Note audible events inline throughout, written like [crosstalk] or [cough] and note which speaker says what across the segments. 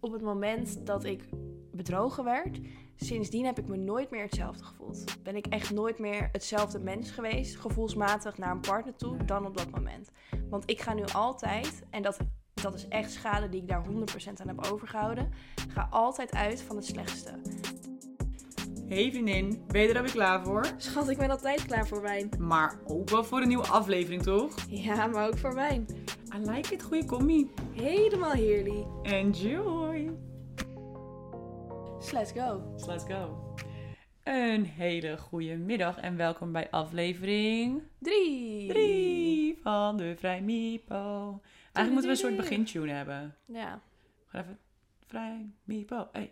Speaker 1: op het moment dat ik bedrogen werd, sindsdien heb ik me nooit meer hetzelfde gevoeld. Ben ik echt nooit meer hetzelfde mens geweest, gevoelsmatig naar een partner toe, dan op dat moment. Want ik ga nu altijd, en dat, dat is echt schade die ik daar 100% aan heb overgehouden, ga altijd uit van het slechtste.
Speaker 2: Hey vriendin, ben je er alweer klaar voor?
Speaker 1: Schat, ik ben altijd klaar voor wijn.
Speaker 2: Maar ook wel voor een nieuwe aflevering, toch?
Speaker 1: Ja, maar ook voor wijn.
Speaker 2: I like it, goede commie.
Speaker 1: Helemaal heerlijk.
Speaker 2: Enjoy!
Speaker 1: Dus let's go.
Speaker 2: let's go. Een hele goede middag en welkom bij aflevering
Speaker 1: Drie.
Speaker 2: 3 van de Vrij Mipo. Eigenlijk moeten we een soort
Speaker 1: Doei.
Speaker 2: begintune hebben.
Speaker 1: Ja. [laughs]
Speaker 2: We gaan even Vrij Mipo. Hey.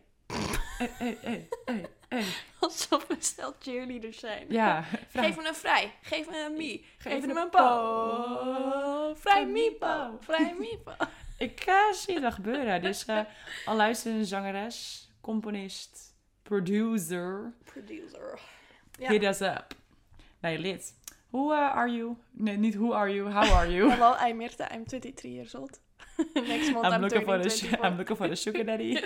Speaker 2: Hey, hey, hey, hey, hey.
Speaker 1: Alsof we stel cheerleaders zijn.
Speaker 2: [laughs] Ja, vrij.
Speaker 1: Geef me een vrij. Geef me een mie.
Speaker 2: Geef
Speaker 1: Geef
Speaker 2: me
Speaker 1: me een
Speaker 2: een
Speaker 1: po.
Speaker 2: po.
Speaker 1: Vrij
Speaker 2: Een
Speaker 1: miepo.
Speaker 2: miepo.
Speaker 1: Vrij [laughs] miepo.
Speaker 2: Ik eh, zie het wel gebeuren. Dus eh al luisteren, zangeres, componist, producer,
Speaker 1: Producer. Ja.
Speaker 2: ja. hit us up. Nee, lid. Who eh, are you? Nee, niet who are you, how are
Speaker 1: [laughs]
Speaker 2: you?
Speaker 1: Hello, I'm Mirta. I'm 23 years old. [laughs] Next month I'm,
Speaker 2: I'm looking, for
Speaker 1: turning
Speaker 2: a, su-
Speaker 1: 24.
Speaker 2: I'm looking for a sugar daddy.
Speaker 1: [laughs]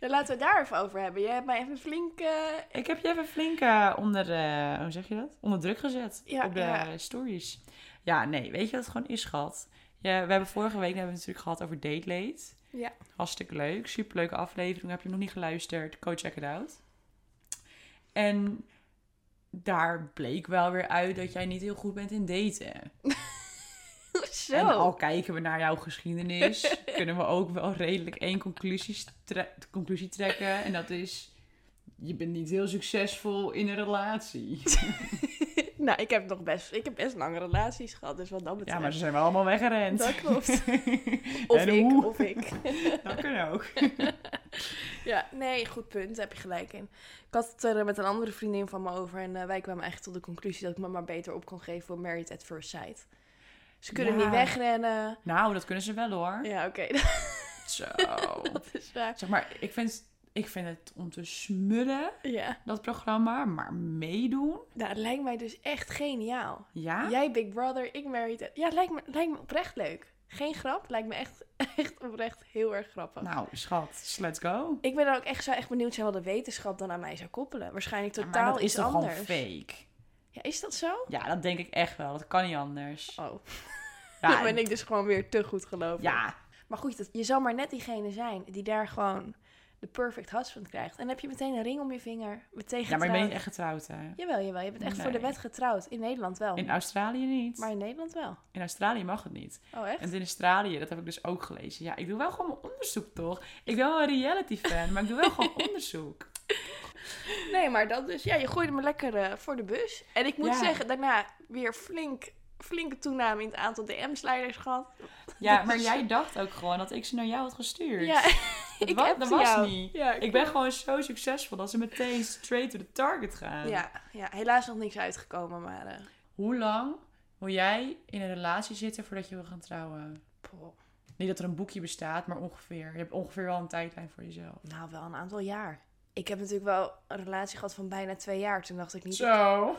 Speaker 1: Ja, laten we het daar even over hebben. Jij hebt mij even flink... eh,
Speaker 2: Ik heb je even flink eh, onder, eh, hoe zeg je dat? Onder druk gezet
Speaker 1: Ja,
Speaker 2: op de
Speaker 1: ja.
Speaker 2: stories. Ja, nee, weet je wat het gewoon is, schat? Ja, we hebben vorige week hebben we het natuurlijk gehad over date late.
Speaker 1: Ja.
Speaker 2: Hartstikke leuk, superleuke aflevering. Heb je nog niet geluisterd? Go check it out. En daar bleek wel weer uit dat jij niet heel goed bent in daten.
Speaker 1: [laughs] Zo.
Speaker 2: En al kijken we naar jouw geschiedenis,
Speaker 1: [laughs]
Speaker 2: kunnen we ook wel redelijk één conclusies tre- conclusie trekken. En dat is, je bent niet heel succesvol in een
Speaker 1: [laughs]
Speaker 2: relatie.
Speaker 1: Nou, ik heb nog best... Ik heb best lange relaties gehad, dus wat dat betreft...
Speaker 2: Ja, maar ze zijn wel allemaal weggerend.
Speaker 1: Dat
Speaker 2: [laughs]
Speaker 1: klopt. Of
Speaker 2: En
Speaker 1: ik, [laughs]
Speaker 2: hoe?
Speaker 1: of ik.
Speaker 2: [laughs] Dat kan ook.
Speaker 1: Ja, nee, goed punt. Daar heb je gelijk in. Ik had het er met een andere vriendin van me over. En eh, wij kwamen eigenlijk tot de conclusie dat ik me maar beter op kon geven voor Married at First Sight. Ze kunnen
Speaker 2: Ja.
Speaker 1: niet wegrennen.
Speaker 2: Nou, dat kunnen ze wel hoor.
Speaker 1: Ja, oké. [laughs]
Speaker 2: Zo.
Speaker 1: dat is waar.
Speaker 2: Zeg maar, ik vind, ik vind het om te smullen,
Speaker 1: Ja.
Speaker 2: dat programma, maar meedoen.
Speaker 1: Nou, het lijkt mij dus echt geniaal.
Speaker 2: Ja?
Speaker 1: Jij Big Brother, ik Married at... Ja, het lijkt me, lijkt me oprecht leuk. Geen grap, lijkt me echt, [laughs] echt oprecht heel erg grappig.
Speaker 2: Nou, schat, let's go.
Speaker 1: Ik ben dan ook echt, zou echt benieuwd zijn wat de wetenschap dan aan mij zou koppelen. Waarschijnlijk
Speaker 2: Ja,
Speaker 1: totaal
Speaker 2: maar dat is
Speaker 1: iets
Speaker 2: toch
Speaker 1: anders.
Speaker 2: gewoon fake?
Speaker 1: Ja, is dat zo?
Speaker 2: Ja, dat denk ik echt wel. Dat kan niet anders.
Speaker 1: Oh, [laughs]
Speaker 2: Ja,
Speaker 1: dan ben ik dus gewoon weer te goed geloven.
Speaker 2: ja,
Speaker 1: Maar goed, dat- je zal maar net diegene zijn die daar gewoon de perfect husband krijgt. En dan heb je meteen een ring om je vinger. Meteen
Speaker 2: ja, maar
Speaker 1: getrouwd.
Speaker 2: je bent niet echt getrouwd, hè?
Speaker 1: Jawel, jawel. Je bent echt voor de
Speaker 2: Nee.
Speaker 1: wet getrouwd. In Nederland wel.
Speaker 2: In Australië niet.
Speaker 1: Oh. Maar in Nederland wel.
Speaker 2: In Australië mag het niet.
Speaker 1: Oh, echt?
Speaker 2: En in Australië, dat heb ik dus ook gelezen. Ja, ik doe wel gewoon mijn onderzoek, toch? Ik ben wel een reality fan, maar ik doe wel
Speaker 1: [laughs]
Speaker 2: gewoon onderzoek.
Speaker 1: Nee, maar dat dus. Ja, je gooide me lekker eh, voor de bus. En ik moet
Speaker 2: Ja.
Speaker 1: zeggen, daarna weer flink, flinke toename in het aantal DM-sliders gehad.
Speaker 2: Ja,
Speaker 1: Dat
Speaker 2: maar
Speaker 1: is-
Speaker 2: jij dacht ook gewoon dat ik ze naar jou had gestuurd.
Speaker 1: Ja, [laughs]
Speaker 2: dat
Speaker 1: ik
Speaker 2: wa-
Speaker 1: heb
Speaker 2: dat
Speaker 1: ze
Speaker 2: was
Speaker 1: jou.
Speaker 2: niet.
Speaker 1: Ja,
Speaker 2: Ik ben gewoon zo succesvol dat ze meteen straight to the target gaan.
Speaker 1: Ja, ja, helaas nog niks uitgekomen, maar... eh,
Speaker 2: Hoe lang wil jij in een relatie zitten voordat je wil gaan trouwen?
Speaker 1: poh,
Speaker 2: Niet dat er een boekje bestaat, maar ongeveer. Je hebt ongeveer wel een tijdlijn voor jezelf.
Speaker 1: nou, wel een aantal jaar. Ik heb natuurlijk wel een relatie gehad van bijna twee jaar. Toen dacht ik niet,
Speaker 2: Zo.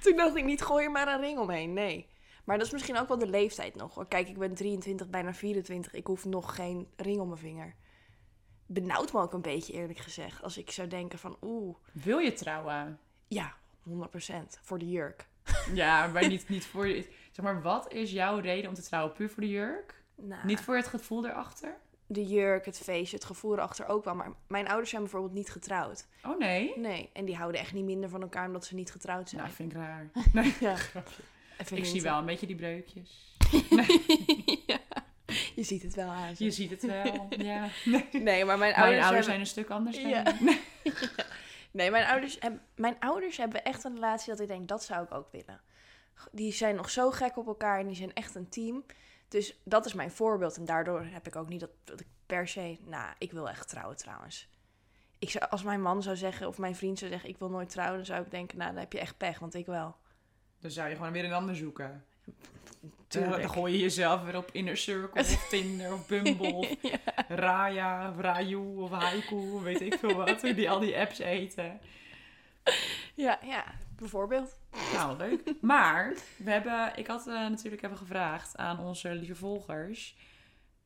Speaker 1: Toen dacht ik niet, gooi er maar een ring omheen. Nee. Maar dat is misschien ook wel de leeftijd nog hoor. Kijk, ik ben 23, bijna 24. Ik hoef nog geen ring om mijn vinger. Benauwt me ook een beetje eerlijk gezegd. Als ik zou denken van oeh,
Speaker 2: Wil je trouwen?
Speaker 1: ja, 100% voor de jurk.
Speaker 2: Ja, maar niet, niet voor je... Zeg maar, wat is jouw reden om te trouwen? Puur voor de jurk?
Speaker 1: Nou,
Speaker 2: Niet voor het gevoel erachter?
Speaker 1: de jurk, het feestje, het gevoel erachter ook wel. Maar mijn ouders zijn bijvoorbeeld niet getrouwd.
Speaker 2: Oh nee?
Speaker 1: Nee, en die houden echt niet minder van elkaar omdat ze niet getrouwd zijn.
Speaker 2: Nou, vind [laughs] ik raar. Nee,
Speaker 1: Ja.
Speaker 2: grapje.
Speaker 1: Even
Speaker 2: Ik zie
Speaker 1: hinten.
Speaker 2: wel een beetje die breukjes. [laughs]
Speaker 1: [laughs] ja, je ziet het wel aan. ze.
Speaker 2: Je ziet het wel, [laughs] ja.
Speaker 1: Nee, maar mijn ouders,
Speaker 2: Mijn ouders
Speaker 1: hebben-
Speaker 2: zijn een stuk anders dan
Speaker 1: Ja.
Speaker 2: ik.
Speaker 1: Nee, mijn ouders, heb- mijn ouders hebben echt een relatie dat ik denk, dat zou ik ook willen. G- Die zijn nog zo gek op elkaar en die zijn echt een team. Dus dat is mijn voorbeeld. En daardoor heb ik ook niet dat, dat ik per se... Nou, ik wil echt trouwen trouwens. Ik zou, als mijn man zou zeggen of mijn vriend zou zeggen, ik wil nooit trouwen... dan zou ik denken, nou, dan heb je echt pech, want ik wel.
Speaker 2: Dan zou je gewoon weer een ander zoeken.
Speaker 1: Tuurlijk.
Speaker 2: Dan, dan gooi je jezelf weer op Inner Circle [laughs] of Tinder of Bumble of Raya of Rayu of Haiku, weet ik veel wat. [laughs] Hoe die al die apps eten.
Speaker 1: Ja, ja bijvoorbeeld.
Speaker 2: Nou, wat leuk. Maar we hebben, ik had eh, natuurlijk even gevraagd aan onze lieve volgers.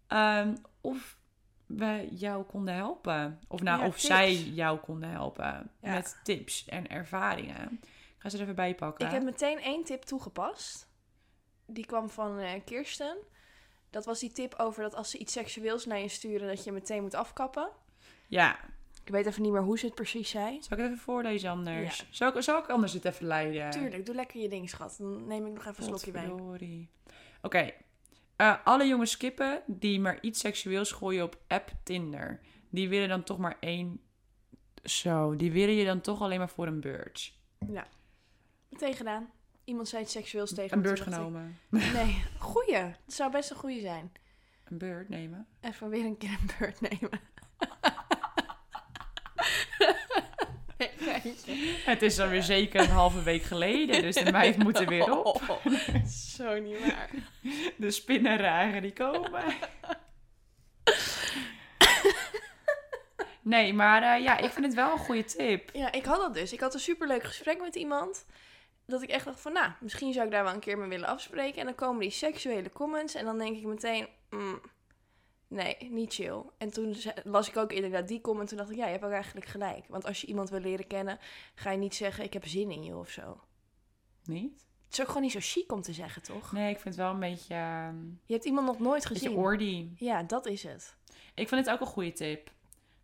Speaker 2: Ehm, of we jou konden helpen. Of, nou,
Speaker 1: Ja,
Speaker 2: of
Speaker 1: tips.
Speaker 2: zij jou konden helpen
Speaker 1: Ja.
Speaker 2: met tips en ervaringen. Ik ga ze er even bij pakken.
Speaker 1: Ik heb meteen één tip toegepast. Die kwam van eh, Kirsten. Dat was die tip over dat als ze iets seksueels naar je sturen, dat je meteen moet afkappen.
Speaker 2: Ja,
Speaker 1: Ik weet even niet meer hoe ze het precies zei.
Speaker 2: zal ik het even voorlezen anders?
Speaker 1: Ja.
Speaker 2: Zal, ik, zal ik anders het even leiden?
Speaker 1: Tuurlijk, doe lekker je ding, schat. Dan neem ik nog even een slokje wijn.
Speaker 2: Potverdorie. Oké. Eh, alle jonge skippen die maar iets seksueels gooien op app Tinder. Die willen dan toch maar één... Zo, die willen je dan toch alleen maar voor een beurt.
Speaker 1: Meteen gedaan. Iemand zei iets seksueels tegen
Speaker 2: Een
Speaker 1: me,
Speaker 2: beurt
Speaker 1: toen dacht
Speaker 2: genomen.
Speaker 1: ik, [laughs] Nee, goeie. Het zou best een goeie zijn.
Speaker 2: Een beurt nemen.
Speaker 1: Even weer een keer een beurt
Speaker 2: [laughs]
Speaker 1: nemen. Nee, geintje.
Speaker 2: Het is dan weer zeker een halve week geleden, dus
Speaker 1: [laughs]
Speaker 2: de meid moet er weer
Speaker 1: Oh.
Speaker 2: op.
Speaker 1: Zo niet waar.
Speaker 2: De spinnenragen die komen. Nee, maar eh, ja, ik vind het wel een goede tip.
Speaker 1: Ja, ik had dat dus. Ik had een superleuk gesprek met iemand. Dat ik echt dacht van, nou, misschien zou ik daar wel een keer mee willen afspreken. En dan komen die seksuele comments. En dan denk ik meteen, mm, nee, niet chill. En toen ze- las ik ook inderdaad die comment. Toen dacht ik, ja, je hebt ook eigenlijk gelijk. Want als je iemand wil leren kennen, ga je niet zeggen, ik heb zin in je of zo.
Speaker 2: Niet?
Speaker 1: Het is ook gewoon niet zo chic om te zeggen, toch?
Speaker 2: Nee, ik vind het wel een beetje, eh, een
Speaker 1: Je hebt iemand nog nooit
Speaker 2: beetje
Speaker 1: gezien.
Speaker 2: ordy.
Speaker 1: Ja, dat is het.
Speaker 2: Ik vind het ook een goede tip.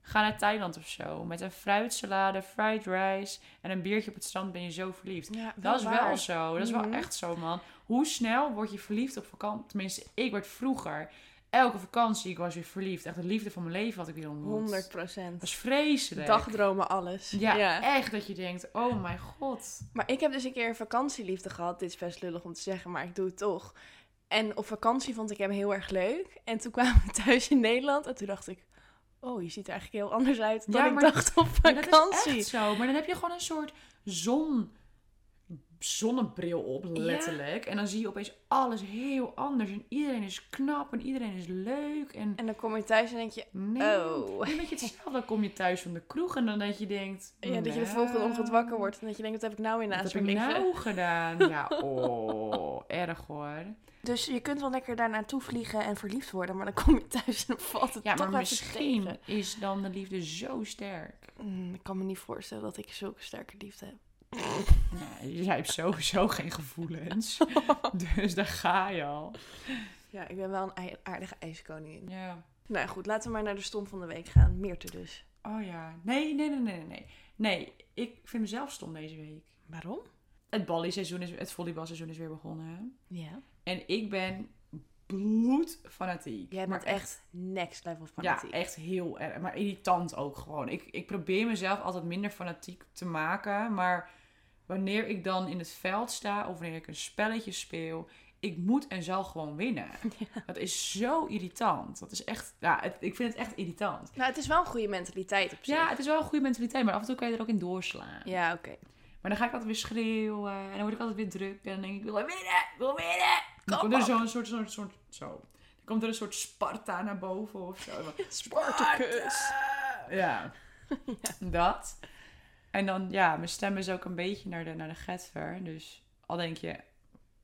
Speaker 2: Ga naar Thailand of zo. Met een fruitsalade, fried rice en een biertje op het strand ben je zo verliefd.
Speaker 1: Ja,
Speaker 2: Dat is wel zo. Dat is wel
Speaker 1: Mhm.
Speaker 2: echt zo, man. Hoe snel word je verliefd op vakantie? Tenminste, ik werd vroeger. Elke vakantie, ik was weer verliefd. Echt de liefde van mijn leven had ik weer ontmoet.
Speaker 1: 100
Speaker 2: Dat is vreselijk.
Speaker 1: Dagdromen, alles.
Speaker 2: Ja, echt dat je denkt, oh mijn god.
Speaker 1: Maar ik heb dus een keer een vakantieliefde gehad. Dit is best lullig om te zeggen, maar ik doe het toch. En op vakantie vond ik hem heel erg leuk. En toen kwamen we thuis in Nederland. En toen dacht ik, oh, je ziet er eigenlijk heel anders uit dan
Speaker 2: Ja,
Speaker 1: ik
Speaker 2: maar-
Speaker 1: dacht op
Speaker 2: Maar dat is
Speaker 1: vakantie.
Speaker 2: echt zo. Maar dan heb je gewoon een soort zon, zonnebril op, letterlijk. En dan zie je opeens alles heel anders. En iedereen is knap en iedereen is leuk. En
Speaker 1: En dan kom je thuis en denk je,
Speaker 2: nee,
Speaker 1: Oh.
Speaker 2: een beetje hetzelfde. Dan kom je thuis van de kroeg en dan dat je denkt...
Speaker 1: ja, dat je de volgende ochtend wakker wordt. En dat je denkt, wat heb ik nou in
Speaker 2: Wat
Speaker 1: naast
Speaker 2: heb
Speaker 1: me
Speaker 2: ik
Speaker 1: liggen?
Speaker 2: nou
Speaker 1: [laughs]
Speaker 2: gedaan? Ja, oh, erg hoor.
Speaker 1: Dus je kunt wel lekker daar naartoe vliegen en verliefd worden. Maar dan kom je thuis en dan valt het
Speaker 2: Ja,
Speaker 1: toch
Speaker 2: maar
Speaker 1: even
Speaker 2: misschien
Speaker 1: tegen.
Speaker 2: is dan de liefde zo sterk.
Speaker 1: Mm, ik kan me niet voorstellen dat ik zulke sterke liefde heb.
Speaker 2: Nee, jij hebt sowieso geen
Speaker 1: [laughs]
Speaker 2: gevoelens. dus daar ga je al.
Speaker 1: Ja, ik ben wel een ei- aardige ijskoningin.
Speaker 2: Ja.
Speaker 1: Nou goed, laten we maar naar de stom van de week gaan. Meerte dus.
Speaker 2: Oh ja. Nee, nee, nee, nee, nee, nee. Nee, ik vind mezelf stom deze week.
Speaker 1: Waarom?
Speaker 2: Het ballyseizoen is, het volleybalseizoen is weer begonnen.
Speaker 1: Ja.
Speaker 2: En ik ben bloedfanatiek.
Speaker 1: Jij
Speaker 2: Maar
Speaker 1: bent echt next level
Speaker 2: Ja,
Speaker 1: fanatiek.
Speaker 2: echt heel erg. Maar irritant ook gewoon. Ik, ik probeer mezelf altijd minder fanatiek te maken. Maar wanneer ik dan in het veld sta of wanneer ik een spelletje speel, ik moet en zal
Speaker 1: [laughs]
Speaker 2: gewoon winnen. Dat is zo irritant. Dat is echt, ja, het- ik vind het echt irritant.
Speaker 1: Nou, het is wel een goede mentaliteit op zich.
Speaker 2: Ja, het is wel een goede mentaliteit, maar af en toe kan je er ook in doorslaan.
Speaker 1: Ja, oké.
Speaker 2: Maar dan ga ik altijd weer schreeuwen en dan word ik altijd weer druk. En dan denk ik, ik wil winnen, ik wil winnen. Dan
Speaker 1: Kom
Speaker 2: komt er
Speaker 1: op.
Speaker 2: zo'n soort, soort, soort, zo. Dan komt er een soort Sparta naar boven of zo. [laughs]
Speaker 1: Spartacus.
Speaker 2: Ja. Dat. En dan, ja, mijn stem is ook een beetje naar de, naar de getver. Dus al denk je,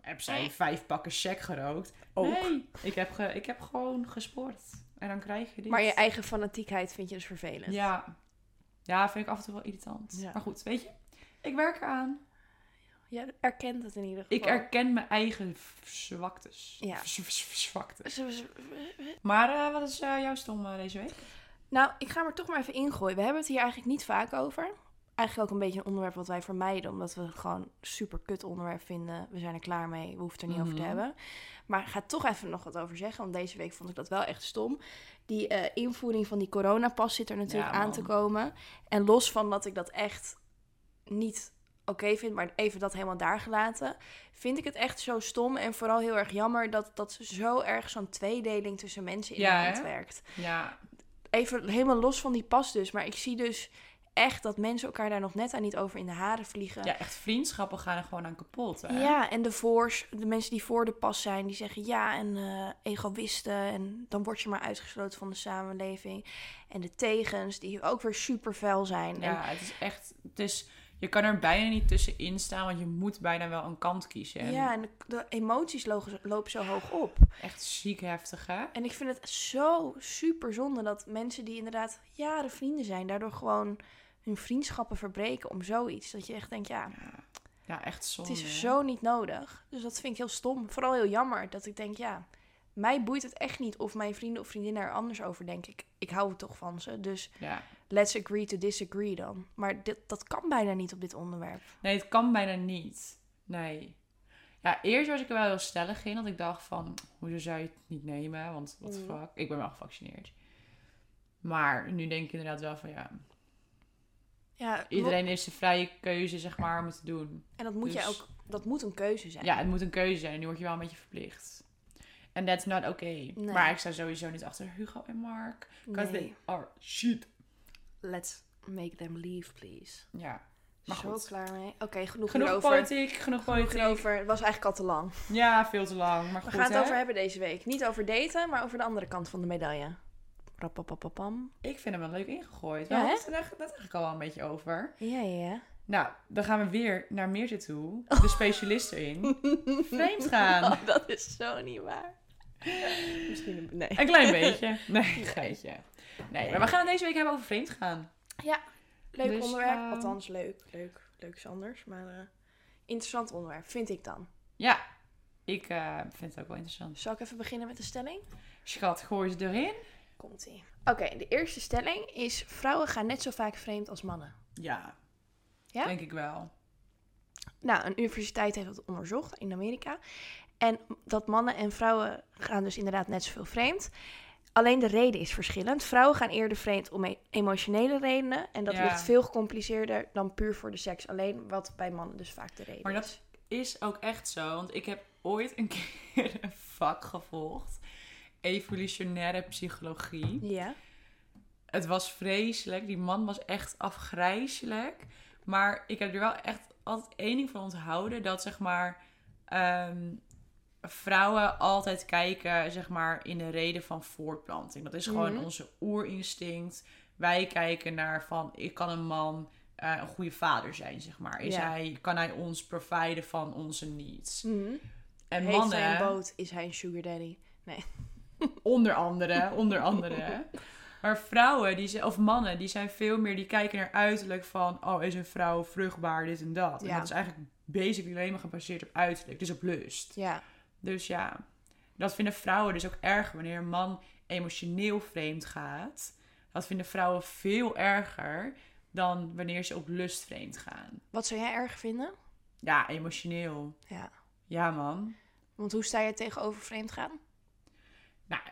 Speaker 2: heb zij vijf pakken check gerookt?
Speaker 1: Ook.
Speaker 2: Nee, ik heb, ge, ik heb gewoon gesport. En dan krijg je dit.
Speaker 1: Maar je eigen fanatiekheid vind je dus vervelend.
Speaker 2: Ja. Ja, vind ik af en toe wel irritant.
Speaker 1: Ja.
Speaker 2: Maar goed, weet je, ik werk eraan.
Speaker 1: Jij erkent het in ieder geval.
Speaker 2: Ik erken mijn eigen v- zwaktes.
Speaker 1: Ja.
Speaker 2: Z- z- z- zwaktes.
Speaker 1: Zullen we-
Speaker 2: Maar eh, wat is eh, jouw stom eh, deze week?
Speaker 1: Nou, ik ga hem er toch maar even ingooien. We hebben het hier eigenlijk niet vaak over. Eigenlijk ook een beetje een onderwerp wat wij vermijden, omdat we het gewoon een super kut onderwerp vinden. We zijn er klaar mee, we hoeven het er niet over te
Speaker 2: Mhm.
Speaker 1: hebben. Maar ik ga toch even nog wat over zeggen, want deze week vond ik dat wel echt stom. Die eh, invoering van die coronapas zit er natuurlijk
Speaker 2: Ja,
Speaker 1: aan
Speaker 2: man.
Speaker 1: te komen. En los van dat ik dat echt niet oké vind, maar even dat helemaal daar gelaten, vind ik het echt zo stom en vooral heel erg jammer dat dat zo erg zo'n tweedeling tussen mensen in
Speaker 2: Ja,
Speaker 1: de hand
Speaker 2: hè?
Speaker 1: werkt
Speaker 2: Ja,
Speaker 1: even helemaal los van die pas dus, maar ik zie dus echt dat mensen elkaar daar nog net aan niet over in de haren vliegen.
Speaker 2: ja, echt vriendschappen gaan er gewoon aan kapot. Hè?
Speaker 1: Ja, en de voors, de mensen die voor de pas zijn, die zeggen ja en eh, egoïsten en dan word je maar uitgesloten van de samenleving. En de tegens, die ook weer super vuil zijn. En
Speaker 2: Ja, het is echt. Het is Je kan er bijna niet tussenin staan, want je moet bijna wel een kant kiezen. En
Speaker 1: Ja, en de, de emoties logen- lopen zo hoog op.
Speaker 2: Echt ziek heftig, hè?
Speaker 1: En ik vind het zo super zonde dat mensen die inderdaad jaren vrienden zijn, daardoor gewoon hun vriendschappen verbreken om zoiets. Dat je echt denkt, ja,
Speaker 2: Ja, echt zonde.
Speaker 1: het
Speaker 2: hè?
Speaker 1: is zo niet nodig. Dus dat vind ik heel stom. Vooral heel jammer dat ik denk, ja, mij boeit het echt niet of mijn vrienden of vriendinnen er anders over denken. Ik, ik hou toch van ze. Dus
Speaker 2: Ja.
Speaker 1: let's agree to disagree dan. Maar dit, dat kan bijna niet op dit onderwerp.
Speaker 2: Nee, het kan bijna niet. Nee. Ja, eerst was ik er wel heel stellig in. Dat ik dacht van, hoezo zou je het niet nemen? Want wat the
Speaker 1: Mm.
Speaker 2: fuck? Ik ben wel gevaccineerd. Maar nu denk ik inderdaad wel van, ja...
Speaker 1: Ja,
Speaker 2: Iedereen heeft zijn vrije keuze, zeg maar, om het te doen.
Speaker 1: en dat moet,
Speaker 2: dus-
Speaker 1: je ook, dat moet een keuze zijn.
Speaker 2: Ja, het moet een keuze zijn. En nu word je wel een beetje verplicht. En that's not okay.
Speaker 1: Nee.
Speaker 2: Maar ik sta sowieso niet achter Hugo en Mark. Because
Speaker 1: Nee.
Speaker 2: they are shit.
Speaker 1: Let's make them leave, please.
Speaker 2: Ja. Maar
Speaker 1: Zo
Speaker 2: goed.
Speaker 1: klaar mee. Oké, genoeg,
Speaker 2: Genoeg
Speaker 1: hierover.
Speaker 2: politiek, genoeg
Speaker 1: Genoeg
Speaker 2: politiek.
Speaker 1: hierover. Het was eigenlijk al te lang.
Speaker 2: Ja, veel te lang. Maar
Speaker 1: We
Speaker 2: goed,
Speaker 1: gaan het
Speaker 2: hè?
Speaker 1: over hebben deze week. Niet over daten, maar over de andere kant van de medaille. Rapapapapam.
Speaker 2: Ik vind hem wel leuk ingegooid.
Speaker 1: Ja,
Speaker 2: Ja,
Speaker 1: hè?
Speaker 2: het net eigenlijk al wel een beetje over.
Speaker 1: Ja, ja, ja.
Speaker 2: Nou, dan gaan we weer naar Meerte
Speaker 1: [laughs]
Speaker 2: toe. De specialist erin. Vreemd gaan.
Speaker 1: Oh, dat is zo niet waar. Misschien een... Nee.
Speaker 2: Een klein beetje. Nee, geitje. Nee, maar we gaan het deze week hebben over vreemd gaan.
Speaker 1: Leuk
Speaker 2: Dus,
Speaker 1: onderwerp.
Speaker 2: ehm,
Speaker 1: Althans, leuk. Leuk. Leuk is anders. Maar eh, interessant onderwerp, vind ik dan.
Speaker 2: Ja, ik eh, vind het ook wel interessant.
Speaker 1: Zal ik even beginnen met de stelling?
Speaker 2: Schat, gooi ze erin.
Speaker 1: Komt-ie. Oké, de eerste stelling is... Vrouwen gaan net zo vaak vreemd als mannen.
Speaker 2: Ja,
Speaker 1: Ja?
Speaker 2: denk ik wel.
Speaker 1: Nou, een universiteit heeft dat onderzocht in Amerika. En dat mannen en vrouwen gaan dus inderdaad net zoveel vreemd. Alleen de reden is verschillend. Vrouwen gaan eerder vreemd om e- emotionele redenen. En dat
Speaker 2: Ja.
Speaker 1: ligt veel gecompliceerder dan puur voor de seks alleen. Wat bij mannen dus vaak de reden
Speaker 2: Maar dat-
Speaker 1: is.
Speaker 2: Is ook echt zo, want ik heb ooit een [laughs] keer een vak gevolgd. Evolutionaire psychologie.
Speaker 1: Ja.
Speaker 2: Het was vreselijk. Die man was echt afgrijzelijk. Maar ik heb er wel echt altijd één ding van onthouden. Dat zeg maar ehm, vrouwen altijd kijken zeg maar, in de reden van voortplanting. Dat is gewoon
Speaker 1: Mhm.
Speaker 2: onze oerinstinct. Wij kijken naar van, ik kan een man eh, een goede vader zijn, zeg maar. Is
Speaker 1: Ja.
Speaker 2: hij, kan hij ons providen van onze needs?
Speaker 1: Mhm.
Speaker 2: En
Speaker 1: Heeft
Speaker 2: mannen...
Speaker 1: hij een boot? Is hij een sugar daddy?
Speaker 2: Onder andere, onder andere. Maar vrouwen, die zijn, of mannen, die zijn veel meer, die kijken naar uiterlijk van, oh, is een vrouw vruchtbaar, dit en dat. En
Speaker 1: Ja.
Speaker 2: dat is eigenlijk basically alleen maar gebaseerd op uiterlijk, dus op lust.
Speaker 1: Ja.
Speaker 2: Dus ja, dat vinden vrouwen dus ook erg wanneer een man emotioneel vreemd gaat. Dat vinden vrouwen veel erger dan wanneer ze op lust vreemd gaan.
Speaker 1: Wat zou jij erg vinden?
Speaker 2: Ja, emotioneel.
Speaker 1: Ja.
Speaker 2: Ja, man.
Speaker 1: Want hoe sta je tegenover vreemd gaan?
Speaker 2: Nou,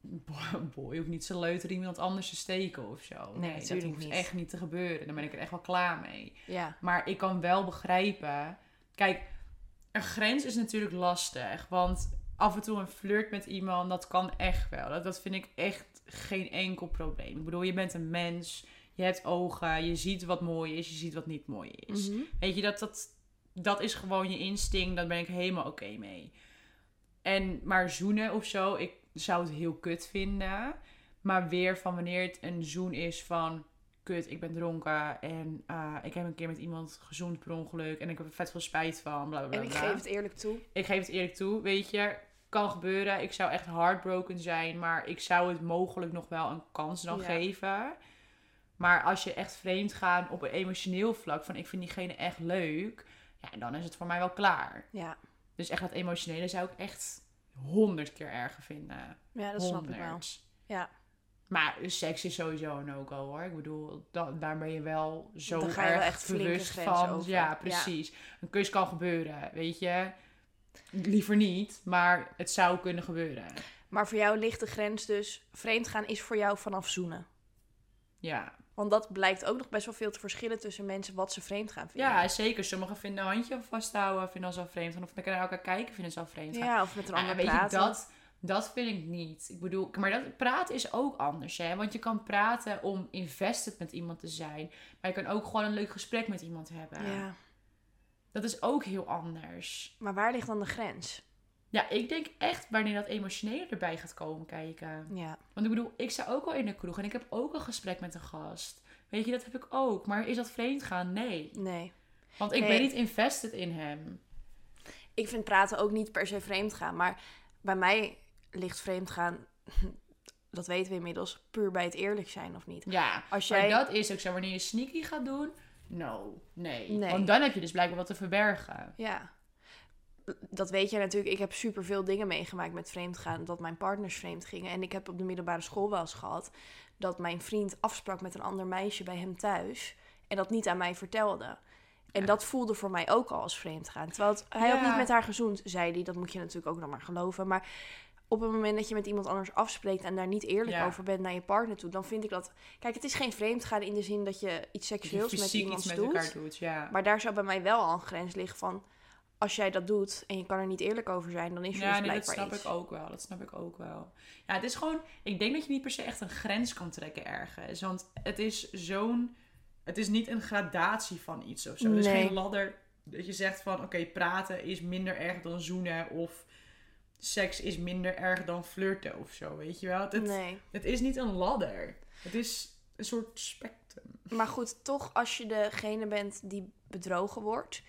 Speaker 2: bo- [laughs] boy, ook niet zo leuk om iemand anders te steken of zo. Nee, dat
Speaker 1: natuurlijk
Speaker 2: hoeft
Speaker 1: niet.
Speaker 2: echt niet te gebeuren. Dan ben ik er echt wel klaar mee.
Speaker 1: Ja.
Speaker 2: Maar ik kan wel begrijpen. Kijk, een grens is natuurlijk lastig. Want af en toe een flirt met iemand, dat kan echt wel. Dat, dat vind ik echt geen enkel probleem. Ik bedoel, je bent een mens. Je hebt ogen. Je ziet wat mooi is. Je ziet wat niet mooi is.
Speaker 1: Mhm.
Speaker 2: Weet je, dat, dat, dat is gewoon je instinct. Daar ben ik helemaal oké mee. En maar zoenen of zo, ik zou het heel kut vinden. Maar weer van wanneer het een zoen is van... Kut, ik ben dronken en eh, ik heb een keer met iemand gezoend per ongeluk. En ik heb er vet veel spijt van, bla bla bla.
Speaker 1: En ik
Speaker 2: bla.
Speaker 1: geef het eerlijk toe.
Speaker 2: ik geef het eerlijk toe, weet je. Kan gebeuren. Ik zou echt heartbroken zijn. Maar ik zou het mogelijk nog wel een kans dan
Speaker 1: Ja.
Speaker 2: geven. Maar als je echt vreemd gaat op een emotioneel vlak... van ik vind diegene echt leuk... ja, dan is het voor mij wel klaar.
Speaker 1: Ja.
Speaker 2: Dus echt dat emotionele zou ik echt honderd keer erger vinden.
Speaker 1: Ja, dat snap ik wel.
Speaker 2: Honderd.
Speaker 1: Ja.
Speaker 2: Maar seks is sowieso een no-go hoor. Ik bedoel, da- daar ben je wel zo
Speaker 1: Dan ga je
Speaker 2: erg
Speaker 1: wel echt flinke
Speaker 2: bewust
Speaker 1: grenzen
Speaker 2: van.
Speaker 1: over.
Speaker 2: Ja,
Speaker 1: Ja.
Speaker 2: precies. Een kus kan gebeuren, weet je. Liever niet, maar het zou kunnen gebeuren.
Speaker 1: Maar voor jou ligt de grens dus... Vreemd gaan is voor jou vanaf zoenen.
Speaker 2: Ja,
Speaker 1: Want dat blijkt ook nog best wel veel te verschillen tussen mensen wat ze vreemd gaan vinden.
Speaker 2: ja zeker. Sommigen vinden een handje vasthouden, vinden dat al vreemd. gaan. Of naar elkaar kijken, vinden ze al vreemd. gaan.
Speaker 1: Ja, of met een ander
Speaker 2: Ah, weet
Speaker 1: praten.
Speaker 2: je, dat, dat vind ik niet. Ik bedoel, maar dat, praten is ook anders, hè. Want je kan praten om invested met iemand te zijn. Maar je kan ook gewoon een leuk gesprek met iemand hebben.
Speaker 1: Ja.
Speaker 2: Dat is ook heel anders.
Speaker 1: Maar waar ligt dan de grens?
Speaker 2: Ja, ik denk echt wanneer dat emotioneel erbij gaat komen kijken.
Speaker 1: Ja.
Speaker 2: Want ik bedoel, ik sta ook al in de kroeg en ik heb ook een gesprek met een gast. Weet je, dat heb ik ook. Maar is dat vreemd gaan? Nee.
Speaker 1: Nee.
Speaker 2: Want ik
Speaker 1: Nee.
Speaker 2: ben niet invested in hem.
Speaker 1: Ik vind praten ook niet per se vreemd gaan. Maar bij mij ligt vreemd gaan, [laughs] dat weten we inmiddels, puur bij het eerlijk zijn of niet.
Speaker 2: Ja.
Speaker 1: Als
Speaker 2: Maar
Speaker 1: jij...
Speaker 2: dat is ook zo. Wanneer je sneaky gaat doen, no, nee.
Speaker 1: Nee.
Speaker 2: Want dan heb je dus blijkbaar wat te verbergen.
Speaker 1: Ja. Dat weet je natuurlijk. Ik heb superveel dingen meegemaakt met vreemdgaan. Dat mijn partners vreemd gingen. En ik heb op de middelbare school wel eens gehad... dat mijn vriend afsprak met een ander meisje bij hem thuis... en dat niet aan mij vertelde. En
Speaker 2: Ja.
Speaker 1: dat voelde voor mij ook al als vreemdgaan. Terwijl het- hij had
Speaker 2: Ja.
Speaker 1: niet met haar gezoend, zei hij. Dat moet je natuurlijk ook nog maar geloven. Maar op het moment dat je met iemand anders afspreekt... en daar niet eerlijk
Speaker 2: Ja.
Speaker 1: over bent naar je partner toe... dan vind ik dat... Kijk, het is geen vreemdgaan in de zin dat je iets
Speaker 2: Dat je
Speaker 1: seksueels met
Speaker 2: fysiek
Speaker 1: iemand
Speaker 2: iets met
Speaker 1: doet.
Speaker 2: elkaar doet. Ja.
Speaker 1: Maar daar zou bij mij wel al een grens liggen van... als jij dat doet en je kan er niet eerlijk over zijn... dan is er
Speaker 2: Ja,
Speaker 1: dus
Speaker 2: nee, dat
Speaker 1: blijkbaar
Speaker 2: snap
Speaker 1: iets.
Speaker 2: ik ook wel. Dat snap ik ook wel. Ja, het is gewoon... Ik denk dat je niet per se echt een grens kan trekken ergens. Want het is zo'n... Het is niet een gradatie van iets of zo. Er is
Speaker 1: Nee.
Speaker 2: geen ladder dat je zegt van... Oké, praten is minder erg dan zoenen. Of seks is minder erg dan flirten of zo. Weet je wel? Het,
Speaker 1: Nee.
Speaker 2: het is niet een ladder. Het is een soort spectrum.
Speaker 1: Maar goed, toch als je degene bent die bedrogen wordt...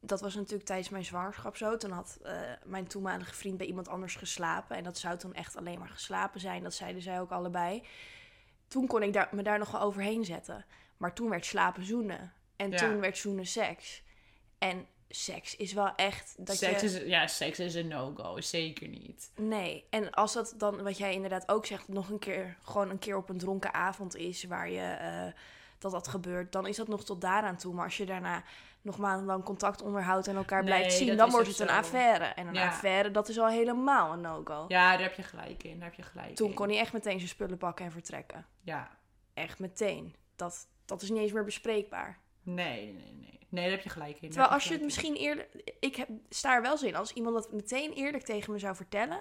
Speaker 1: Dat was natuurlijk tijdens mijn zwangerschap zo. Toen had eh, mijn toenmalige vriend bij iemand anders geslapen. En dat zou toen echt alleen maar geslapen zijn. Dat zeiden zij ook allebei. Toen kon ik daar, me daar nog wel overheen zetten. Maar toen werd slapen zoenen. En
Speaker 2: Ja.
Speaker 1: toen werd zoenen seks. En seks is wel echt... Dat
Speaker 2: seks
Speaker 1: je...
Speaker 2: is, ja, seks is een no-go. Zeker niet.
Speaker 1: Nee, en als dat dan, wat jij inderdaad ook zegt, nog een keer, gewoon een keer op een dronken avond is waar je eh, dat dat gebeurt, dan is dat nog tot daaraan toe. Maar als je daarna nog maandenlang contact onderhoudt en elkaar
Speaker 2: Nee,
Speaker 1: blijft zien,
Speaker 2: dat
Speaker 1: dan
Speaker 2: is
Speaker 1: wordt
Speaker 2: ook
Speaker 1: het een
Speaker 2: zo.
Speaker 1: affaire. En een
Speaker 2: Ja.
Speaker 1: affaire, dat is al helemaal een no-go.
Speaker 2: Ja, daar heb je gelijk in. Daar heb je gelijk
Speaker 1: Toen
Speaker 2: in.
Speaker 1: kon hij echt meteen zijn spullen pakken en vertrekken.
Speaker 2: Ja.
Speaker 1: Echt meteen. Dat, dat is niet eens meer bespreekbaar.
Speaker 2: Nee, nee, nee. Nee, daar heb je gelijk in.
Speaker 1: Terwijl
Speaker 2: Daar
Speaker 1: als
Speaker 2: heb
Speaker 1: je het
Speaker 2: gelijk
Speaker 1: misschien eerlijk... Ik heb, sta er wel zin. Als iemand dat meteen eerlijk tegen me zou vertellen...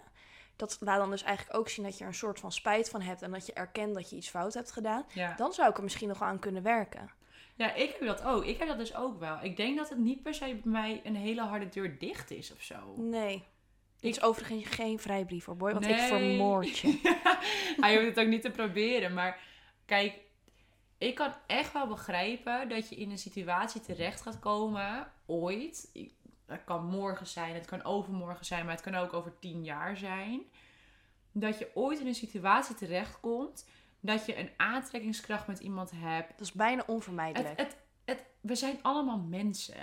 Speaker 1: Dat laat dan dus eigenlijk ook zien dat je er een soort van spijt van hebt... en dat je erkent dat je iets fout hebt gedaan.
Speaker 2: in. Ja.
Speaker 1: Dan zou ik er misschien nog wel aan kunnen werken.
Speaker 2: ja, ik heb dat ook. Ik heb dat dus ook wel. Ik denk dat het niet per se bij mij een hele harde deur dicht is of zo.
Speaker 1: Nee. Dit is overigens geen vrijbrief hoor, boy. Want ik
Speaker 2: Nee.
Speaker 1: vermoord
Speaker 2: [laughs]
Speaker 1: je.
Speaker 2: [laughs] Hij hoeft het ook niet te proberen. Maar kijk, ik kan echt wel begrijpen dat je in een situatie terecht gaat komen, ooit. Ik- Dat kan morgen zijn, het kan overmorgen zijn, maar het kan ook over tien jaar zijn. Dat je ooit in een situatie terechtkomt dat je een aantrekkingskracht met iemand hebt.
Speaker 1: Dat is bijna
Speaker 2: Het,
Speaker 1: onvermijdelijk.
Speaker 2: het, het, we zijn allemaal mensen.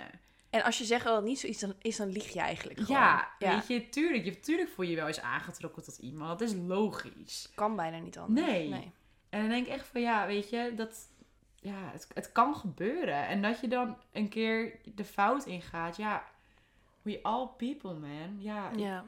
Speaker 1: En als je zegt dat het niet zoiets dan- is, dan lieg je eigenlijk gewoon.
Speaker 2: Ja,
Speaker 1: Ja,
Speaker 2: weet je, tuurlijk, je, tuurlijk voel je je wel eens aangetrokken tot iemand. Dat is logisch.
Speaker 1: kan bijna niet anders.
Speaker 2: Nee. En dan denk ik echt van, ja, weet je, dat... Ja, het, het kan gebeuren. En dat je dan een keer de fout ingaat. Ja, we all people, man. Ja, ik-
Speaker 1: Ja.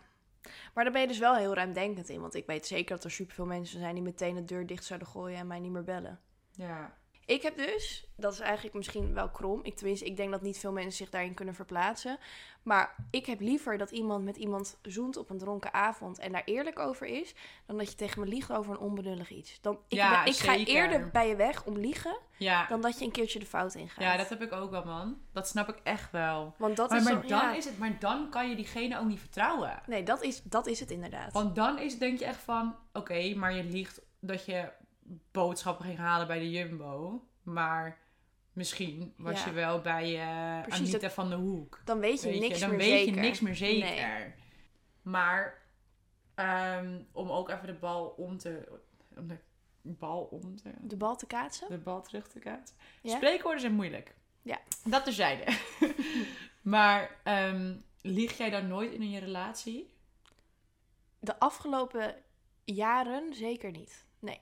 Speaker 1: Maar daar ben je dus wel heel ruimdenkend in. Want ik weet zeker dat er superveel mensen zijn die meteen de deur dicht zouden gooien en mij niet meer bellen.
Speaker 2: ja.
Speaker 1: Ik heb dus, dat is eigenlijk misschien wel krom. Ik, tenminste, ik denk dat niet veel mensen zich daarin kunnen verplaatsen. Maar ik heb liever dat iemand met iemand zoent op een dronken avond en daar eerlijk over is, dan dat je tegen me liegt over een onbenullig iets. Dan, ik
Speaker 2: Ja,
Speaker 1: ben- ik ga
Speaker 2: zeker.
Speaker 1: eerder bij je weg om liegen
Speaker 2: Ja.
Speaker 1: dan dat je een keertje de fout ingaat.
Speaker 2: ja, dat heb ik ook wel, man. Dat snap ik echt wel.
Speaker 1: Want dat
Speaker 2: maar,
Speaker 1: is,
Speaker 2: maar
Speaker 1: dan-
Speaker 2: dan
Speaker 1: ja.
Speaker 2: is het, maar dan kan je diegene ook niet vertrouwen.
Speaker 1: Nee, dat is, dat is het inderdaad.
Speaker 2: Want dan is denk je echt van, oké, maar je liegt dat je boodschappen ging halen bij de Jumbo, maar misschien was
Speaker 1: Ja.
Speaker 2: je wel bij eh
Speaker 1: Precies,
Speaker 2: Anita van de Hoek.
Speaker 1: dan weet je
Speaker 2: Weet
Speaker 1: niks
Speaker 2: dan
Speaker 1: meer
Speaker 2: weet
Speaker 1: zeker.
Speaker 2: je niks meer zeker.
Speaker 1: Nee.
Speaker 2: Maar ehm, om ook even de bal om te, om de bal om te,
Speaker 1: De bal te kaatsen?
Speaker 2: de bal terug te kaatsen.
Speaker 1: Ja?
Speaker 2: Spreekwoorden zijn moeilijk.
Speaker 1: Ja.
Speaker 2: Dat terzijde. [laughs] maar ehm lieg jij dan nooit in je relatie?
Speaker 1: De afgelopen jaren zeker niet. Nee.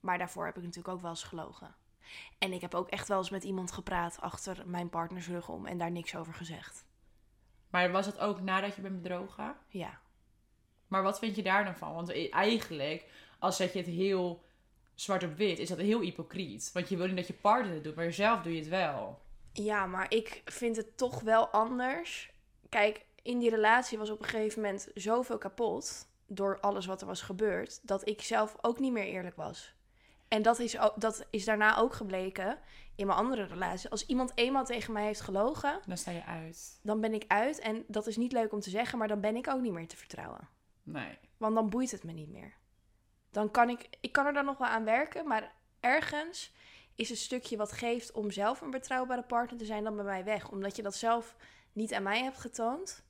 Speaker 1: Maar daarvoor heb ik natuurlijk ook wel eens gelogen. En ik heb ook echt wel eens met iemand gepraat achter mijn partners rug om en daar niks over gezegd.
Speaker 2: Maar was dat ook nadat je bent bedrogen?
Speaker 1: Ja.
Speaker 2: Maar wat vind je daar dan van? Want e- eigenlijk, als zet je het heel zwart op wit, is dat heel hypocriet. Want je wil niet dat je partner het doet, maar zelf doe je het wel.
Speaker 1: Ja, maar ik vind het toch wel anders. Kijk, in die relatie was op een gegeven moment zoveel kapot door alles wat er was gebeurd, dat ik zelf ook niet meer eerlijk was. En dat is, ook, dat is daarna ook gebleken in mijn andere relatie. Als iemand eenmaal tegen mij heeft gelogen,
Speaker 2: Dan sta je uit.
Speaker 1: dan ben ik uit. En dat is niet leuk om te zeggen, maar dan ben ik ook niet meer te vertrouwen.
Speaker 2: Nee.
Speaker 1: Want dan boeit het me niet meer. Dan kan ik, ik kan er dan nog wel aan werken, maar ergens is het stukje wat geeft om zelf een betrouwbare partner te zijn dan bij mij weg. Omdat je dat zelf niet aan mij hebt getoond,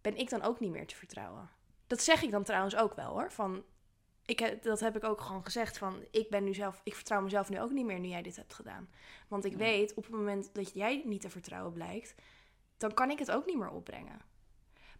Speaker 1: ben ik dan ook niet meer te vertrouwen. Dat zeg ik dan trouwens ook wel hoor. Van, ik, heb- dat heb ik ook gewoon gezegd van ik ben nu zelf, ik vertrouw mezelf nu ook niet meer nu jij dit hebt gedaan. Want ik
Speaker 2: Ja.
Speaker 1: weet op het moment dat jij niet te vertrouwen blijkt, dan kan ik het ook niet meer opbrengen.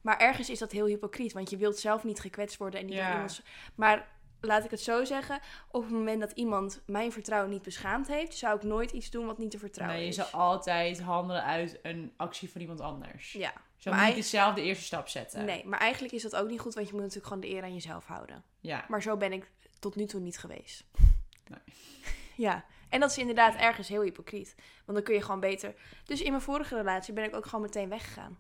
Speaker 1: Maar ergens is dat heel hypocriet, want je wilt zelf niet gekwetst worden en niet
Speaker 2: Ja.
Speaker 1: door iemand. Maar laat ik het zo zeggen, op het moment dat iemand mijn vertrouwen niet beschaamd heeft, zou ik nooit iets doen wat niet te vertrouwen
Speaker 2: Nee, je
Speaker 1: is.
Speaker 2: zal altijd handelen uit een actie van iemand anders.
Speaker 1: Ja,
Speaker 2: Je zal
Speaker 1: maar
Speaker 2: niet
Speaker 1: hij-
Speaker 2: dezelfde eerste stap zetten.
Speaker 1: nee, maar eigenlijk is dat ook niet goed, want je moet natuurlijk gewoon de eer aan jezelf houden.
Speaker 2: Ja.
Speaker 1: Maar zo ben ik tot nu toe niet geweest.
Speaker 2: Nee.
Speaker 1: [laughs] Ja, en dat is inderdaad ergens heel hypocriet. Want dan kun je gewoon beter. Dus in mijn vorige relatie ben ik ook gewoon meteen weggegaan.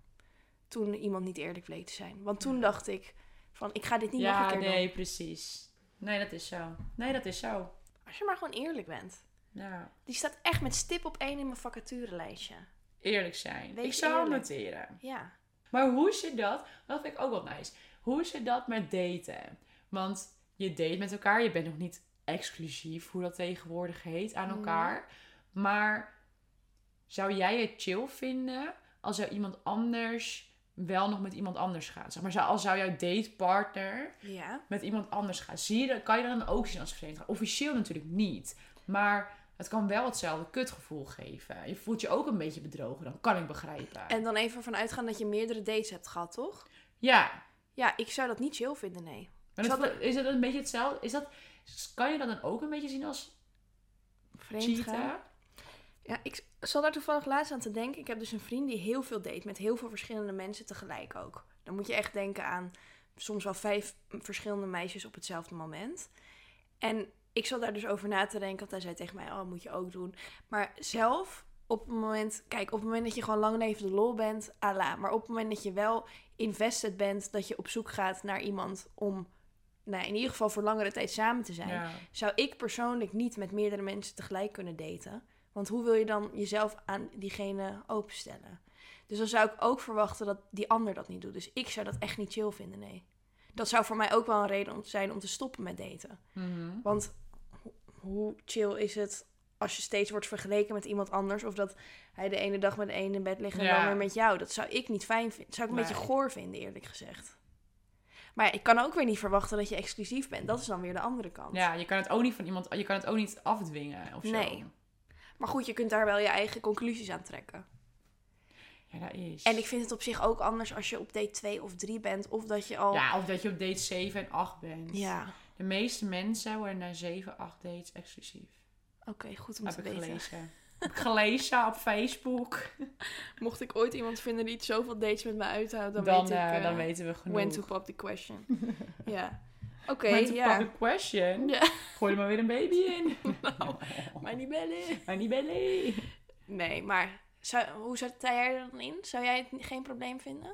Speaker 1: Toen iemand niet eerlijk bleek te zijn. Want toen dacht ik van ik ga dit niet nog
Speaker 2: ja,
Speaker 1: een keer
Speaker 2: nee,
Speaker 1: doen.
Speaker 2: precies. Nee, dat is zo. Nee, dat is zo.
Speaker 1: Als je maar gewoon eerlijk bent.
Speaker 2: Ja.
Speaker 1: Die staat echt met stip op één in mijn vacaturenlijstje.
Speaker 2: Eerlijk zijn.
Speaker 1: Wees
Speaker 2: ik zou hem
Speaker 1: eerlijk.
Speaker 2: noteren.
Speaker 1: Ja.
Speaker 2: Maar hoe zit dat? Dat vind ik ook wel nice. Hoe zit dat met daten? Want je date met elkaar, je bent nog niet exclusief, hoe dat tegenwoordig heet, aan
Speaker 1: Nee.
Speaker 2: elkaar. Maar zou jij het chill vinden als jou iemand anders wel nog met iemand anders gaat? Zeg maar, zou- als zou jouw datepartner
Speaker 1: Ja.
Speaker 2: met iemand anders gaan. Zie je, dat- kan je dat dan ook zien als vreemd gaan? Officieel natuurlijk niet. Maar het kan wel hetzelfde kutgevoel geven. Je voelt je ook een beetje bedrogen. Dan kan ik begrijpen.
Speaker 1: En dan even vanuit gaan dat je meerdere dates hebt gehad, toch?
Speaker 2: Ja,
Speaker 1: Ja, ik zou dat niet chill vinden, nee.
Speaker 2: Maar dat
Speaker 1: Zal
Speaker 2: voelt- is dat een beetje hetzelfde? Is dat, kan je dat dan ook een beetje zien als
Speaker 1: Vreemd gaan.
Speaker 2: cheaten?
Speaker 1: Ja, ik zat daar toevallig laatst aan te denken. Ik heb dus een vriend die heel veel date met heel veel verschillende mensen tegelijk ook. Dan moet je echt denken aan soms wel vijf verschillende meisjes op hetzelfde moment. En ik zat daar dus over na te denken, want hij zei tegen mij, oh, moet je ook doen. Maar zelf, op het moment, kijk, op het moment dat je gewoon lang leven de lol bent, ala. Maar op het moment dat je wel invested bent, dat je op zoek gaat naar iemand om, nou, in ieder geval voor langere tijd samen te zijn
Speaker 2: Ja.
Speaker 1: zou ik persoonlijk niet met meerdere mensen tegelijk kunnen daten. Want hoe wil je dan jezelf aan diegene openstellen? Dus dan zou ik ook verwachten dat die ander dat niet doet. Dus ik zou dat echt niet chill vinden, nee. Dat zou voor mij ook wel een reden om- zijn om te stoppen met daten.
Speaker 2: Mhm.
Speaker 1: Want ho- hoe chill is het als je steeds wordt vergeleken met iemand anders? Of dat hij de ene dag met de ene in bed ligt en
Speaker 2: Ja.
Speaker 1: dan weer met jou. Dat zou ik niet fijn vinden. zou ik een
Speaker 2: Nee.
Speaker 1: beetje goor vinden, eerlijk gezegd. Maar ja, ik kan ook weer niet verwachten dat je exclusief bent. Dat is dan weer de andere kant.
Speaker 2: Ja, je kan het ook niet van iemand, je kan het ook niet afdwingen of zo.
Speaker 1: Nee. Maar goed, je kunt daar wel je eigen conclusies aan trekken.
Speaker 2: Ja, dat is.
Speaker 1: En ik vind het op zich ook anders als je op date 2 of 3 bent. Of dat je al...
Speaker 2: Ja, of dat je op date 7 en 8 bent.
Speaker 1: Ja,
Speaker 2: De meeste mensen worden na 7, 8 dates exclusief.
Speaker 1: oké, goed om
Speaker 2: Heb
Speaker 1: te
Speaker 2: ik
Speaker 1: weten.
Speaker 2: gelezen. Heb ik gelezen op Facebook.
Speaker 1: Mocht ik ooit iemand vinden die het zoveel dates met me uithoudt, [laughs]
Speaker 2: Dan,
Speaker 1: dan, weet ik
Speaker 2: eh,
Speaker 1: eh,
Speaker 2: dan weten we genoeg.
Speaker 1: when to pop the
Speaker 2: [laughs]
Speaker 1: question. ja, oké,
Speaker 2: When to
Speaker 1: ja.
Speaker 2: pop the question.
Speaker 1: Ja. Nou.
Speaker 2: Gooi er maar weer een baby
Speaker 1: [laughs]
Speaker 2: in.
Speaker 1: Maar niet bellen.
Speaker 2: [laughs] Maar niet belly.
Speaker 1: Nee, maar zou, hoe zet jij er dan in? Zou jij het geen probleem vinden?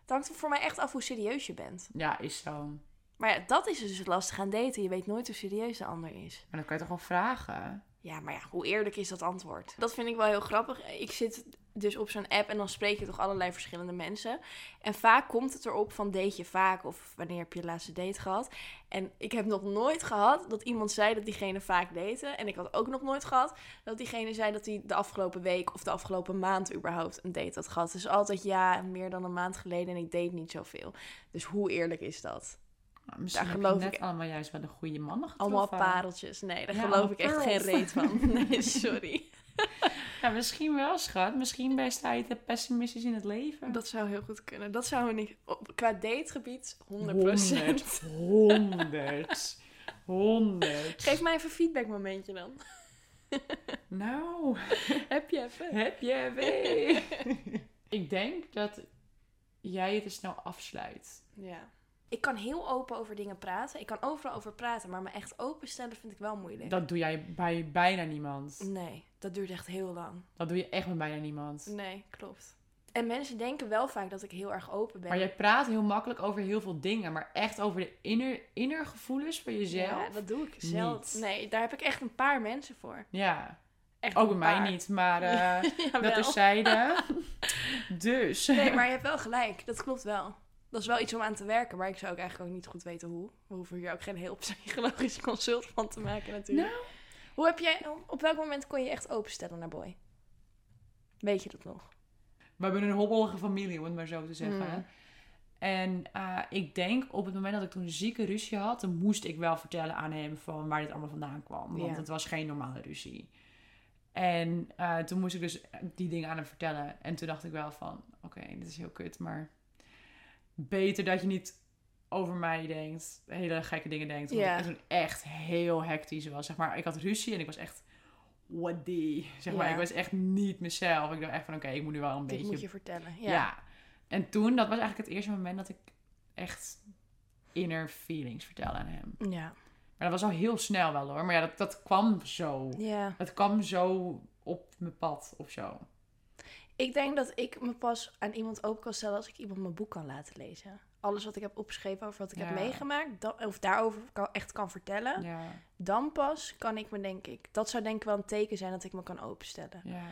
Speaker 1: Het hangt er voor mij echt af hoe serieus je bent.
Speaker 2: Ja, is zo.
Speaker 1: Maar ja, dat is dus het lastige aan daten. Je weet nooit hoe serieus de ander is.
Speaker 2: Maar dan kan je toch wel vragen?
Speaker 1: Ja, maar ja, hoe eerlijk is dat antwoord? Dat vind ik wel heel grappig. Ik zit dus op zo'n app en dan spreek je toch allerlei verschillende mensen. En vaak komt het erop van date je vaak of wanneer heb je je laatste date gehad. En ik heb nog nooit gehad dat iemand zei dat diegene vaak date. En ik had ook nog nooit gehad dat diegene zei dat hij de afgelopen week of de afgelopen maand überhaupt een date had gehad. Dus altijd ja, meer dan een maand geleden en ik date niet zoveel. Dus hoe eerlijk is dat?
Speaker 2: Nou, Misschien
Speaker 1: Daar
Speaker 2: heb
Speaker 1: geloof
Speaker 2: je net
Speaker 1: ik-
Speaker 2: allemaal juist wel de goede mannen getroffen.
Speaker 1: Allemaal pareltjes. Nee, daar
Speaker 2: Ja,
Speaker 1: geloof ik echt
Speaker 2: allemaal
Speaker 1: geen
Speaker 2: parels.
Speaker 1: reet van. [laughs] Nee, sorry.
Speaker 2: Ja, misschien wel, schat. Misschien ben je sta je te pessimistisch in het leven.
Speaker 1: Dat zou heel goed kunnen. Dat zou niet... Op, qua dategebied 100%.
Speaker 2: 100. 100. 100.
Speaker 1: [laughs] Geef mij even een feedback momentje dan. [laughs]
Speaker 2: Nou,
Speaker 1: Heb je even?
Speaker 2: heb je
Speaker 1: [laughs]
Speaker 2: weer. ik denk dat jij het te snel afsluit.
Speaker 1: Ja. Ik kan heel open over dingen praten. Ik kan overal over praten. Maar me echt openstellen vind ik wel moeilijk.
Speaker 2: Dat doe jij bij bijna niemand.
Speaker 1: Nee, dat duurt echt heel lang.
Speaker 2: Dat doe je echt met bijna niemand.
Speaker 1: Nee, klopt. En mensen denken wel vaak dat ik heel erg open ben.
Speaker 2: Maar jij praat heel makkelijk over heel veel dingen. Maar echt over de inner, inner gevoelens van jezelf.
Speaker 1: Ja, dat doe ik zelf.
Speaker 2: niet.
Speaker 1: Nee, daar heb ik echt een paar mensen voor.
Speaker 2: ja.
Speaker 1: Echt
Speaker 2: Ook bij
Speaker 1: een
Speaker 2: mij
Speaker 1: paar.
Speaker 2: niet, maar eh dat
Speaker 1: [laughs] Jawel.
Speaker 2: is
Speaker 1: [laughs]
Speaker 2: zijde. dus. [laughs]
Speaker 1: Nee, maar je hebt wel gelijk. Dat klopt wel. Dat is wel iets om aan te werken, maar ik zou ook [laughs]
Speaker 2: Nou.
Speaker 1: eigenlijk ook niet goed weten hoe. We hoeven hier ook geen heel psychologisch consult van te maken natuurlijk. Hoe heb jij, op welk moment kon je echt openstellen naar Boy? Weet je dat nog?
Speaker 2: We hebben een hobbelige familie, om het maar zo te zeggen.
Speaker 1: Mm.
Speaker 2: En eh, ik denk op het moment dat ik toen een zieke ruzie had, dan moest ik wel vertellen aan hem van waar dit allemaal vandaan kwam. Want
Speaker 1: Ja.
Speaker 2: het was geen normale ruzie. En eh, toen moest ik dus die dingen aan hem vertellen. En toen dacht ik wel van, oké, dit is heel kut, maar beter dat je niet over mij denkt, hele gekke dingen denkt. Omdat
Speaker 1: Ja.
Speaker 2: ik toen echt heel hectisch was, zeg maar. Ik had ruzie en ik was echt, what the, zeg maar.
Speaker 1: Ja.
Speaker 2: Ik was echt niet mezelf. Ik dacht echt van, oké, ik moet nu wel een
Speaker 1: Dit
Speaker 2: beetje
Speaker 1: moet je vertellen.
Speaker 2: ja.
Speaker 1: Ja.
Speaker 2: En toen, dat was eigenlijk het eerste moment dat ik echt inner feelings vertelde aan hem.
Speaker 1: Ja.
Speaker 2: Maar dat was al heel snel wel hoor. Maar ja, dat, dat kwam zo.
Speaker 1: ja.
Speaker 2: Het kwam zo op mijn pad of zo.
Speaker 1: Ik denk dat ik me pas aan iemand open kan stellen als ik iemand mijn boek kan laten lezen. Alles wat ik heb opgeschreven over wat ik
Speaker 2: Ja.
Speaker 1: heb meegemaakt, dan- of daarover kan, echt kan vertellen,
Speaker 2: Ja,
Speaker 1: dan pas kan ik me denk ik. Dat zou denk ik wel een teken zijn dat ik me kan openstellen.
Speaker 2: ja.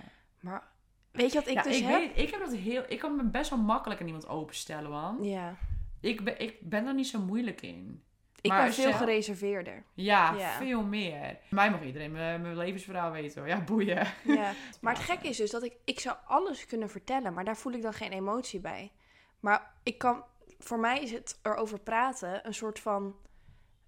Speaker 1: Maar weet je wat ik
Speaker 2: ja,
Speaker 1: dus
Speaker 2: Nou, ik,
Speaker 1: heb?
Speaker 2: weet, het, ik heb dat heel. Ik kan me best wel makkelijk aan iemand openstellen, man.
Speaker 1: Ja,
Speaker 2: Ik ben, ik ben er niet zo moeilijk in.
Speaker 1: ik
Speaker 2: Maar
Speaker 1: ben veel
Speaker 2: zelf- [laughs]
Speaker 1: gereserveerder.
Speaker 2: Ja,
Speaker 1: Ja.
Speaker 2: veel meer. Mij mag iedereen mijn, mijn levensverhaal weten hoor. Ja, boeien.
Speaker 1: Ja. Maar het gekke is dus dat ik, ik zou alles kunnen vertellen, maar daar voel ik dan geen emotie bij. Maar ik kan, voor mij is het erover praten een soort van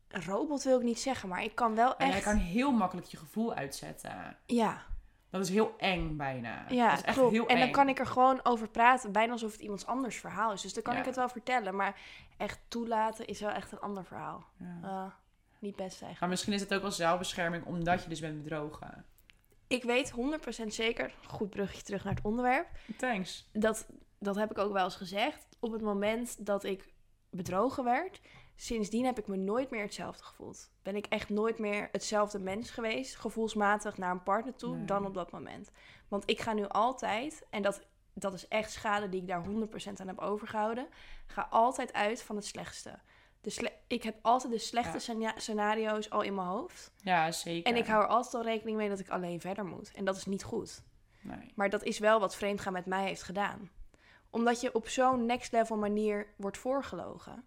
Speaker 1: een robot wil ik niet zeggen, maar ik kan wel
Speaker 2: En
Speaker 1: echt.
Speaker 2: jij kan heel makkelijk je gevoel uitzetten.
Speaker 1: Ja.
Speaker 2: Dat is heel eng bijna.
Speaker 1: Ja,
Speaker 2: dat is echt
Speaker 1: klopt.
Speaker 2: heel
Speaker 1: en dan
Speaker 2: eng.
Speaker 1: kan ik er gewoon over praten, bijna alsof het iemands anders verhaal is. Dus dan kan
Speaker 2: Ja.
Speaker 1: ik het wel vertellen, maar echt toelaten is wel echt een ander verhaal.
Speaker 2: Ja.
Speaker 1: Eh, niet best eigenlijk.
Speaker 2: Maar misschien is het ook wel zelfbescherming omdat je dus bent bedrogen.
Speaker 1: Ik weet 100% zeker, goed bruggetje terug naar het onderwerp,
Speaker 2: Thanks.
Speaker 1: dat, dat heb ik ook wel eens gezegd, op het moment dat ik bedrogen werd, sindsdien heb ik me nooit meer hetzelfde gevoeld. Ben ik echt nooit meer hetzelfde mens geweest, gevoelsmatig naar een partner toe,
Speaker 2: Nee.
Speaker 1: dan op dat moment. Want ik ga nu altijd, en dat, dat is echt schade die ik daar 100% aan heb overgehouden, ga altijd uit van het slechtste. De sle- ik heb altijd de slechte
Speaker 2: Ja.
Speaker 1: scena- scenario's al in mijn hoofd.
Speaker 2: Ja, zeker.
Speaker 1: En ik hou er altijd al rekening mee dat ik alleen verder moet. En dat is niet goed.
Speaker 2: Nee.
Speaker 1: Maar dat is wel wat vreemdgaan met mij heeft gedaan. Omdat je op zo'n next level manier wordt voorgelogen.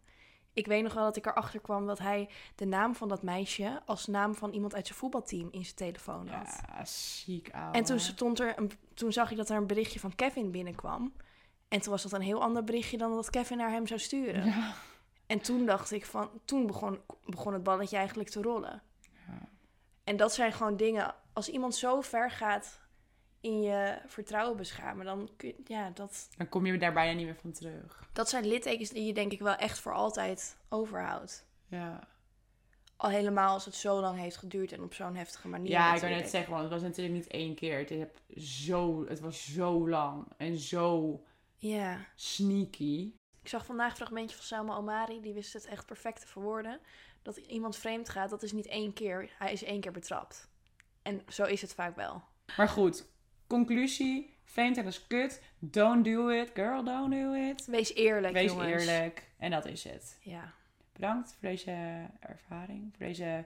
Speaker 1: Ik weet nog wel dat ik erachter kwam dat hij de naam van dat meisje als naam van iemand uit zijn voetbalteam in zijn telefoon had.
Speaker 2: Ja, ziek ouwe.
Speaker 1: En toen, stond er een, toen zag ik dat er een berichtje van Kevin binnenkwam. En toen was dat een heel ander berichtje dan dat Kevin naar hem zou sturen.
Speaker 2: Ja.
Speaker 1: En toen dacht ik van, toen begon, begon het balletje eigenlijk te rollen.
Speaker 2: Ja.
Speaker 1: En dat zijn gewoon dingen, als iemand zo ver gaat in je vertrouwen beschamen, dan kun je, ja, dat,
Speaker 2: Dan kom je daar bijna niet meer van terug.
Speaker 1: dat zijn littekens die je denk ik wel echt voor altijd overhoudt.
Speaker 2: Ja,
Speaker 1: Al helemaal als het zo lang heeft geduurd en op zo'n heftige manier.
Speaker 2: ja ik kan
Speaker 1: natuurlijk.
Speaker 2: net zeggen, want het was natuurlijk niet één keer. Het, heb zo, het was zo lang en zo
Speaker 1: Ja.
Speaker 2: sneaky.
Speaker 1: Ik zag vandaag een fragmentje van Salma Omari, die wist het echt perfect te verwoorden. Dat iemand vreemd gaat, dat is niet één keer, hij is één keer betrapt. En zo is het vaak wel.
Speaker 2: Maar goed, conclusie. Fainten is kut. Don't do it. Girl, don't do it.
Speaker 1: Wees eerlijk,
Speaker 2: Wees
Speaker 1: jongens.
Speaker 2: eerlijk. En dat is het.
Speaker 1: Ja.
Speaker 2: Bedankt voor deze ervaring, voor deze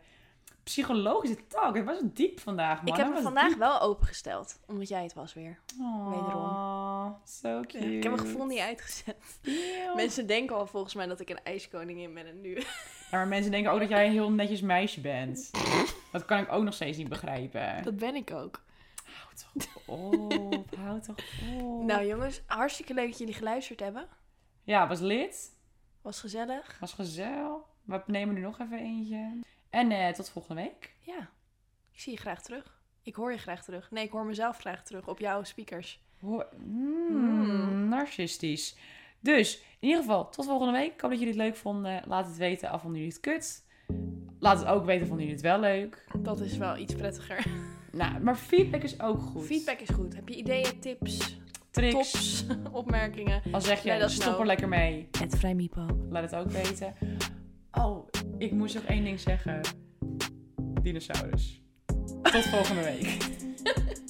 Speaker 2: psychologische talk. Het was diep vandaag, man.
Speaker 1: Ik heb me vandaag wel opengesteld, omdat jij het was weer.
Speaker 2: wederom. Zo Oh, cute.
Speaker 1: Ik heb mijn gevoel niet uitgezet.
Speaker 2: Eeuw.
Speaker 1: Mensen denken al volgens mij dat ik een ijskoningin ben en nu.
Speaker 2: Ja, maar mensen denken ook dat jij een heel netjes meisje bent. Dat kan ik ook nog steeds niet begrijpen.
Speaker 1: Dat ben ik ook.
Speaker 2: Houd toch op, houd toch op.
Speaker 1: [laughs] Nou jongens, hartstikke leuk dat jullie geluisterd hebben.
Speaker 2: Ja, was lid,
Speaker 1: Was gezellig.
Speaker 2: was gezel. We nemen er nog even eentje. En eh, tot volgende week.
Speaker 1: Ja. Ik zie je graag terug. Ik hoor je graag terug. Nee, ik hoor mezelf graag terug op jouw speakers.
Speaker 2: Ho- Mm, narcistisch. Dus, in ieder geval, tot volgende week. Ik hoop dat jullie het leuk vonden. Laat het weten af vonden jullie het kut. Laat het ook weten, vonden jullie het wel leuk.
Speaker 1: Dat is wel iets prettiger.
Speaker 2: Nou, maar feedback is ook goed.
Speaker 1: Feedback is goed. Heb je ideeën, tips,
Speaker 2: Tricks.
Speaker 1: tops, [laughs] opmerkingen?
Speaker 2: Al zeg
Speaker 1: Let
Speaker 2: je,
Speaker 1: us
Speaker 2: stop er
Speaker 1: know.
Speaker 2: lekker mee.
Speaker 1: Het Vrij Mipo.
Speaker 2: Laat het ook weten. Oh, ik moest nog één ding zeggen. Dinosaurus. Tot volgende week.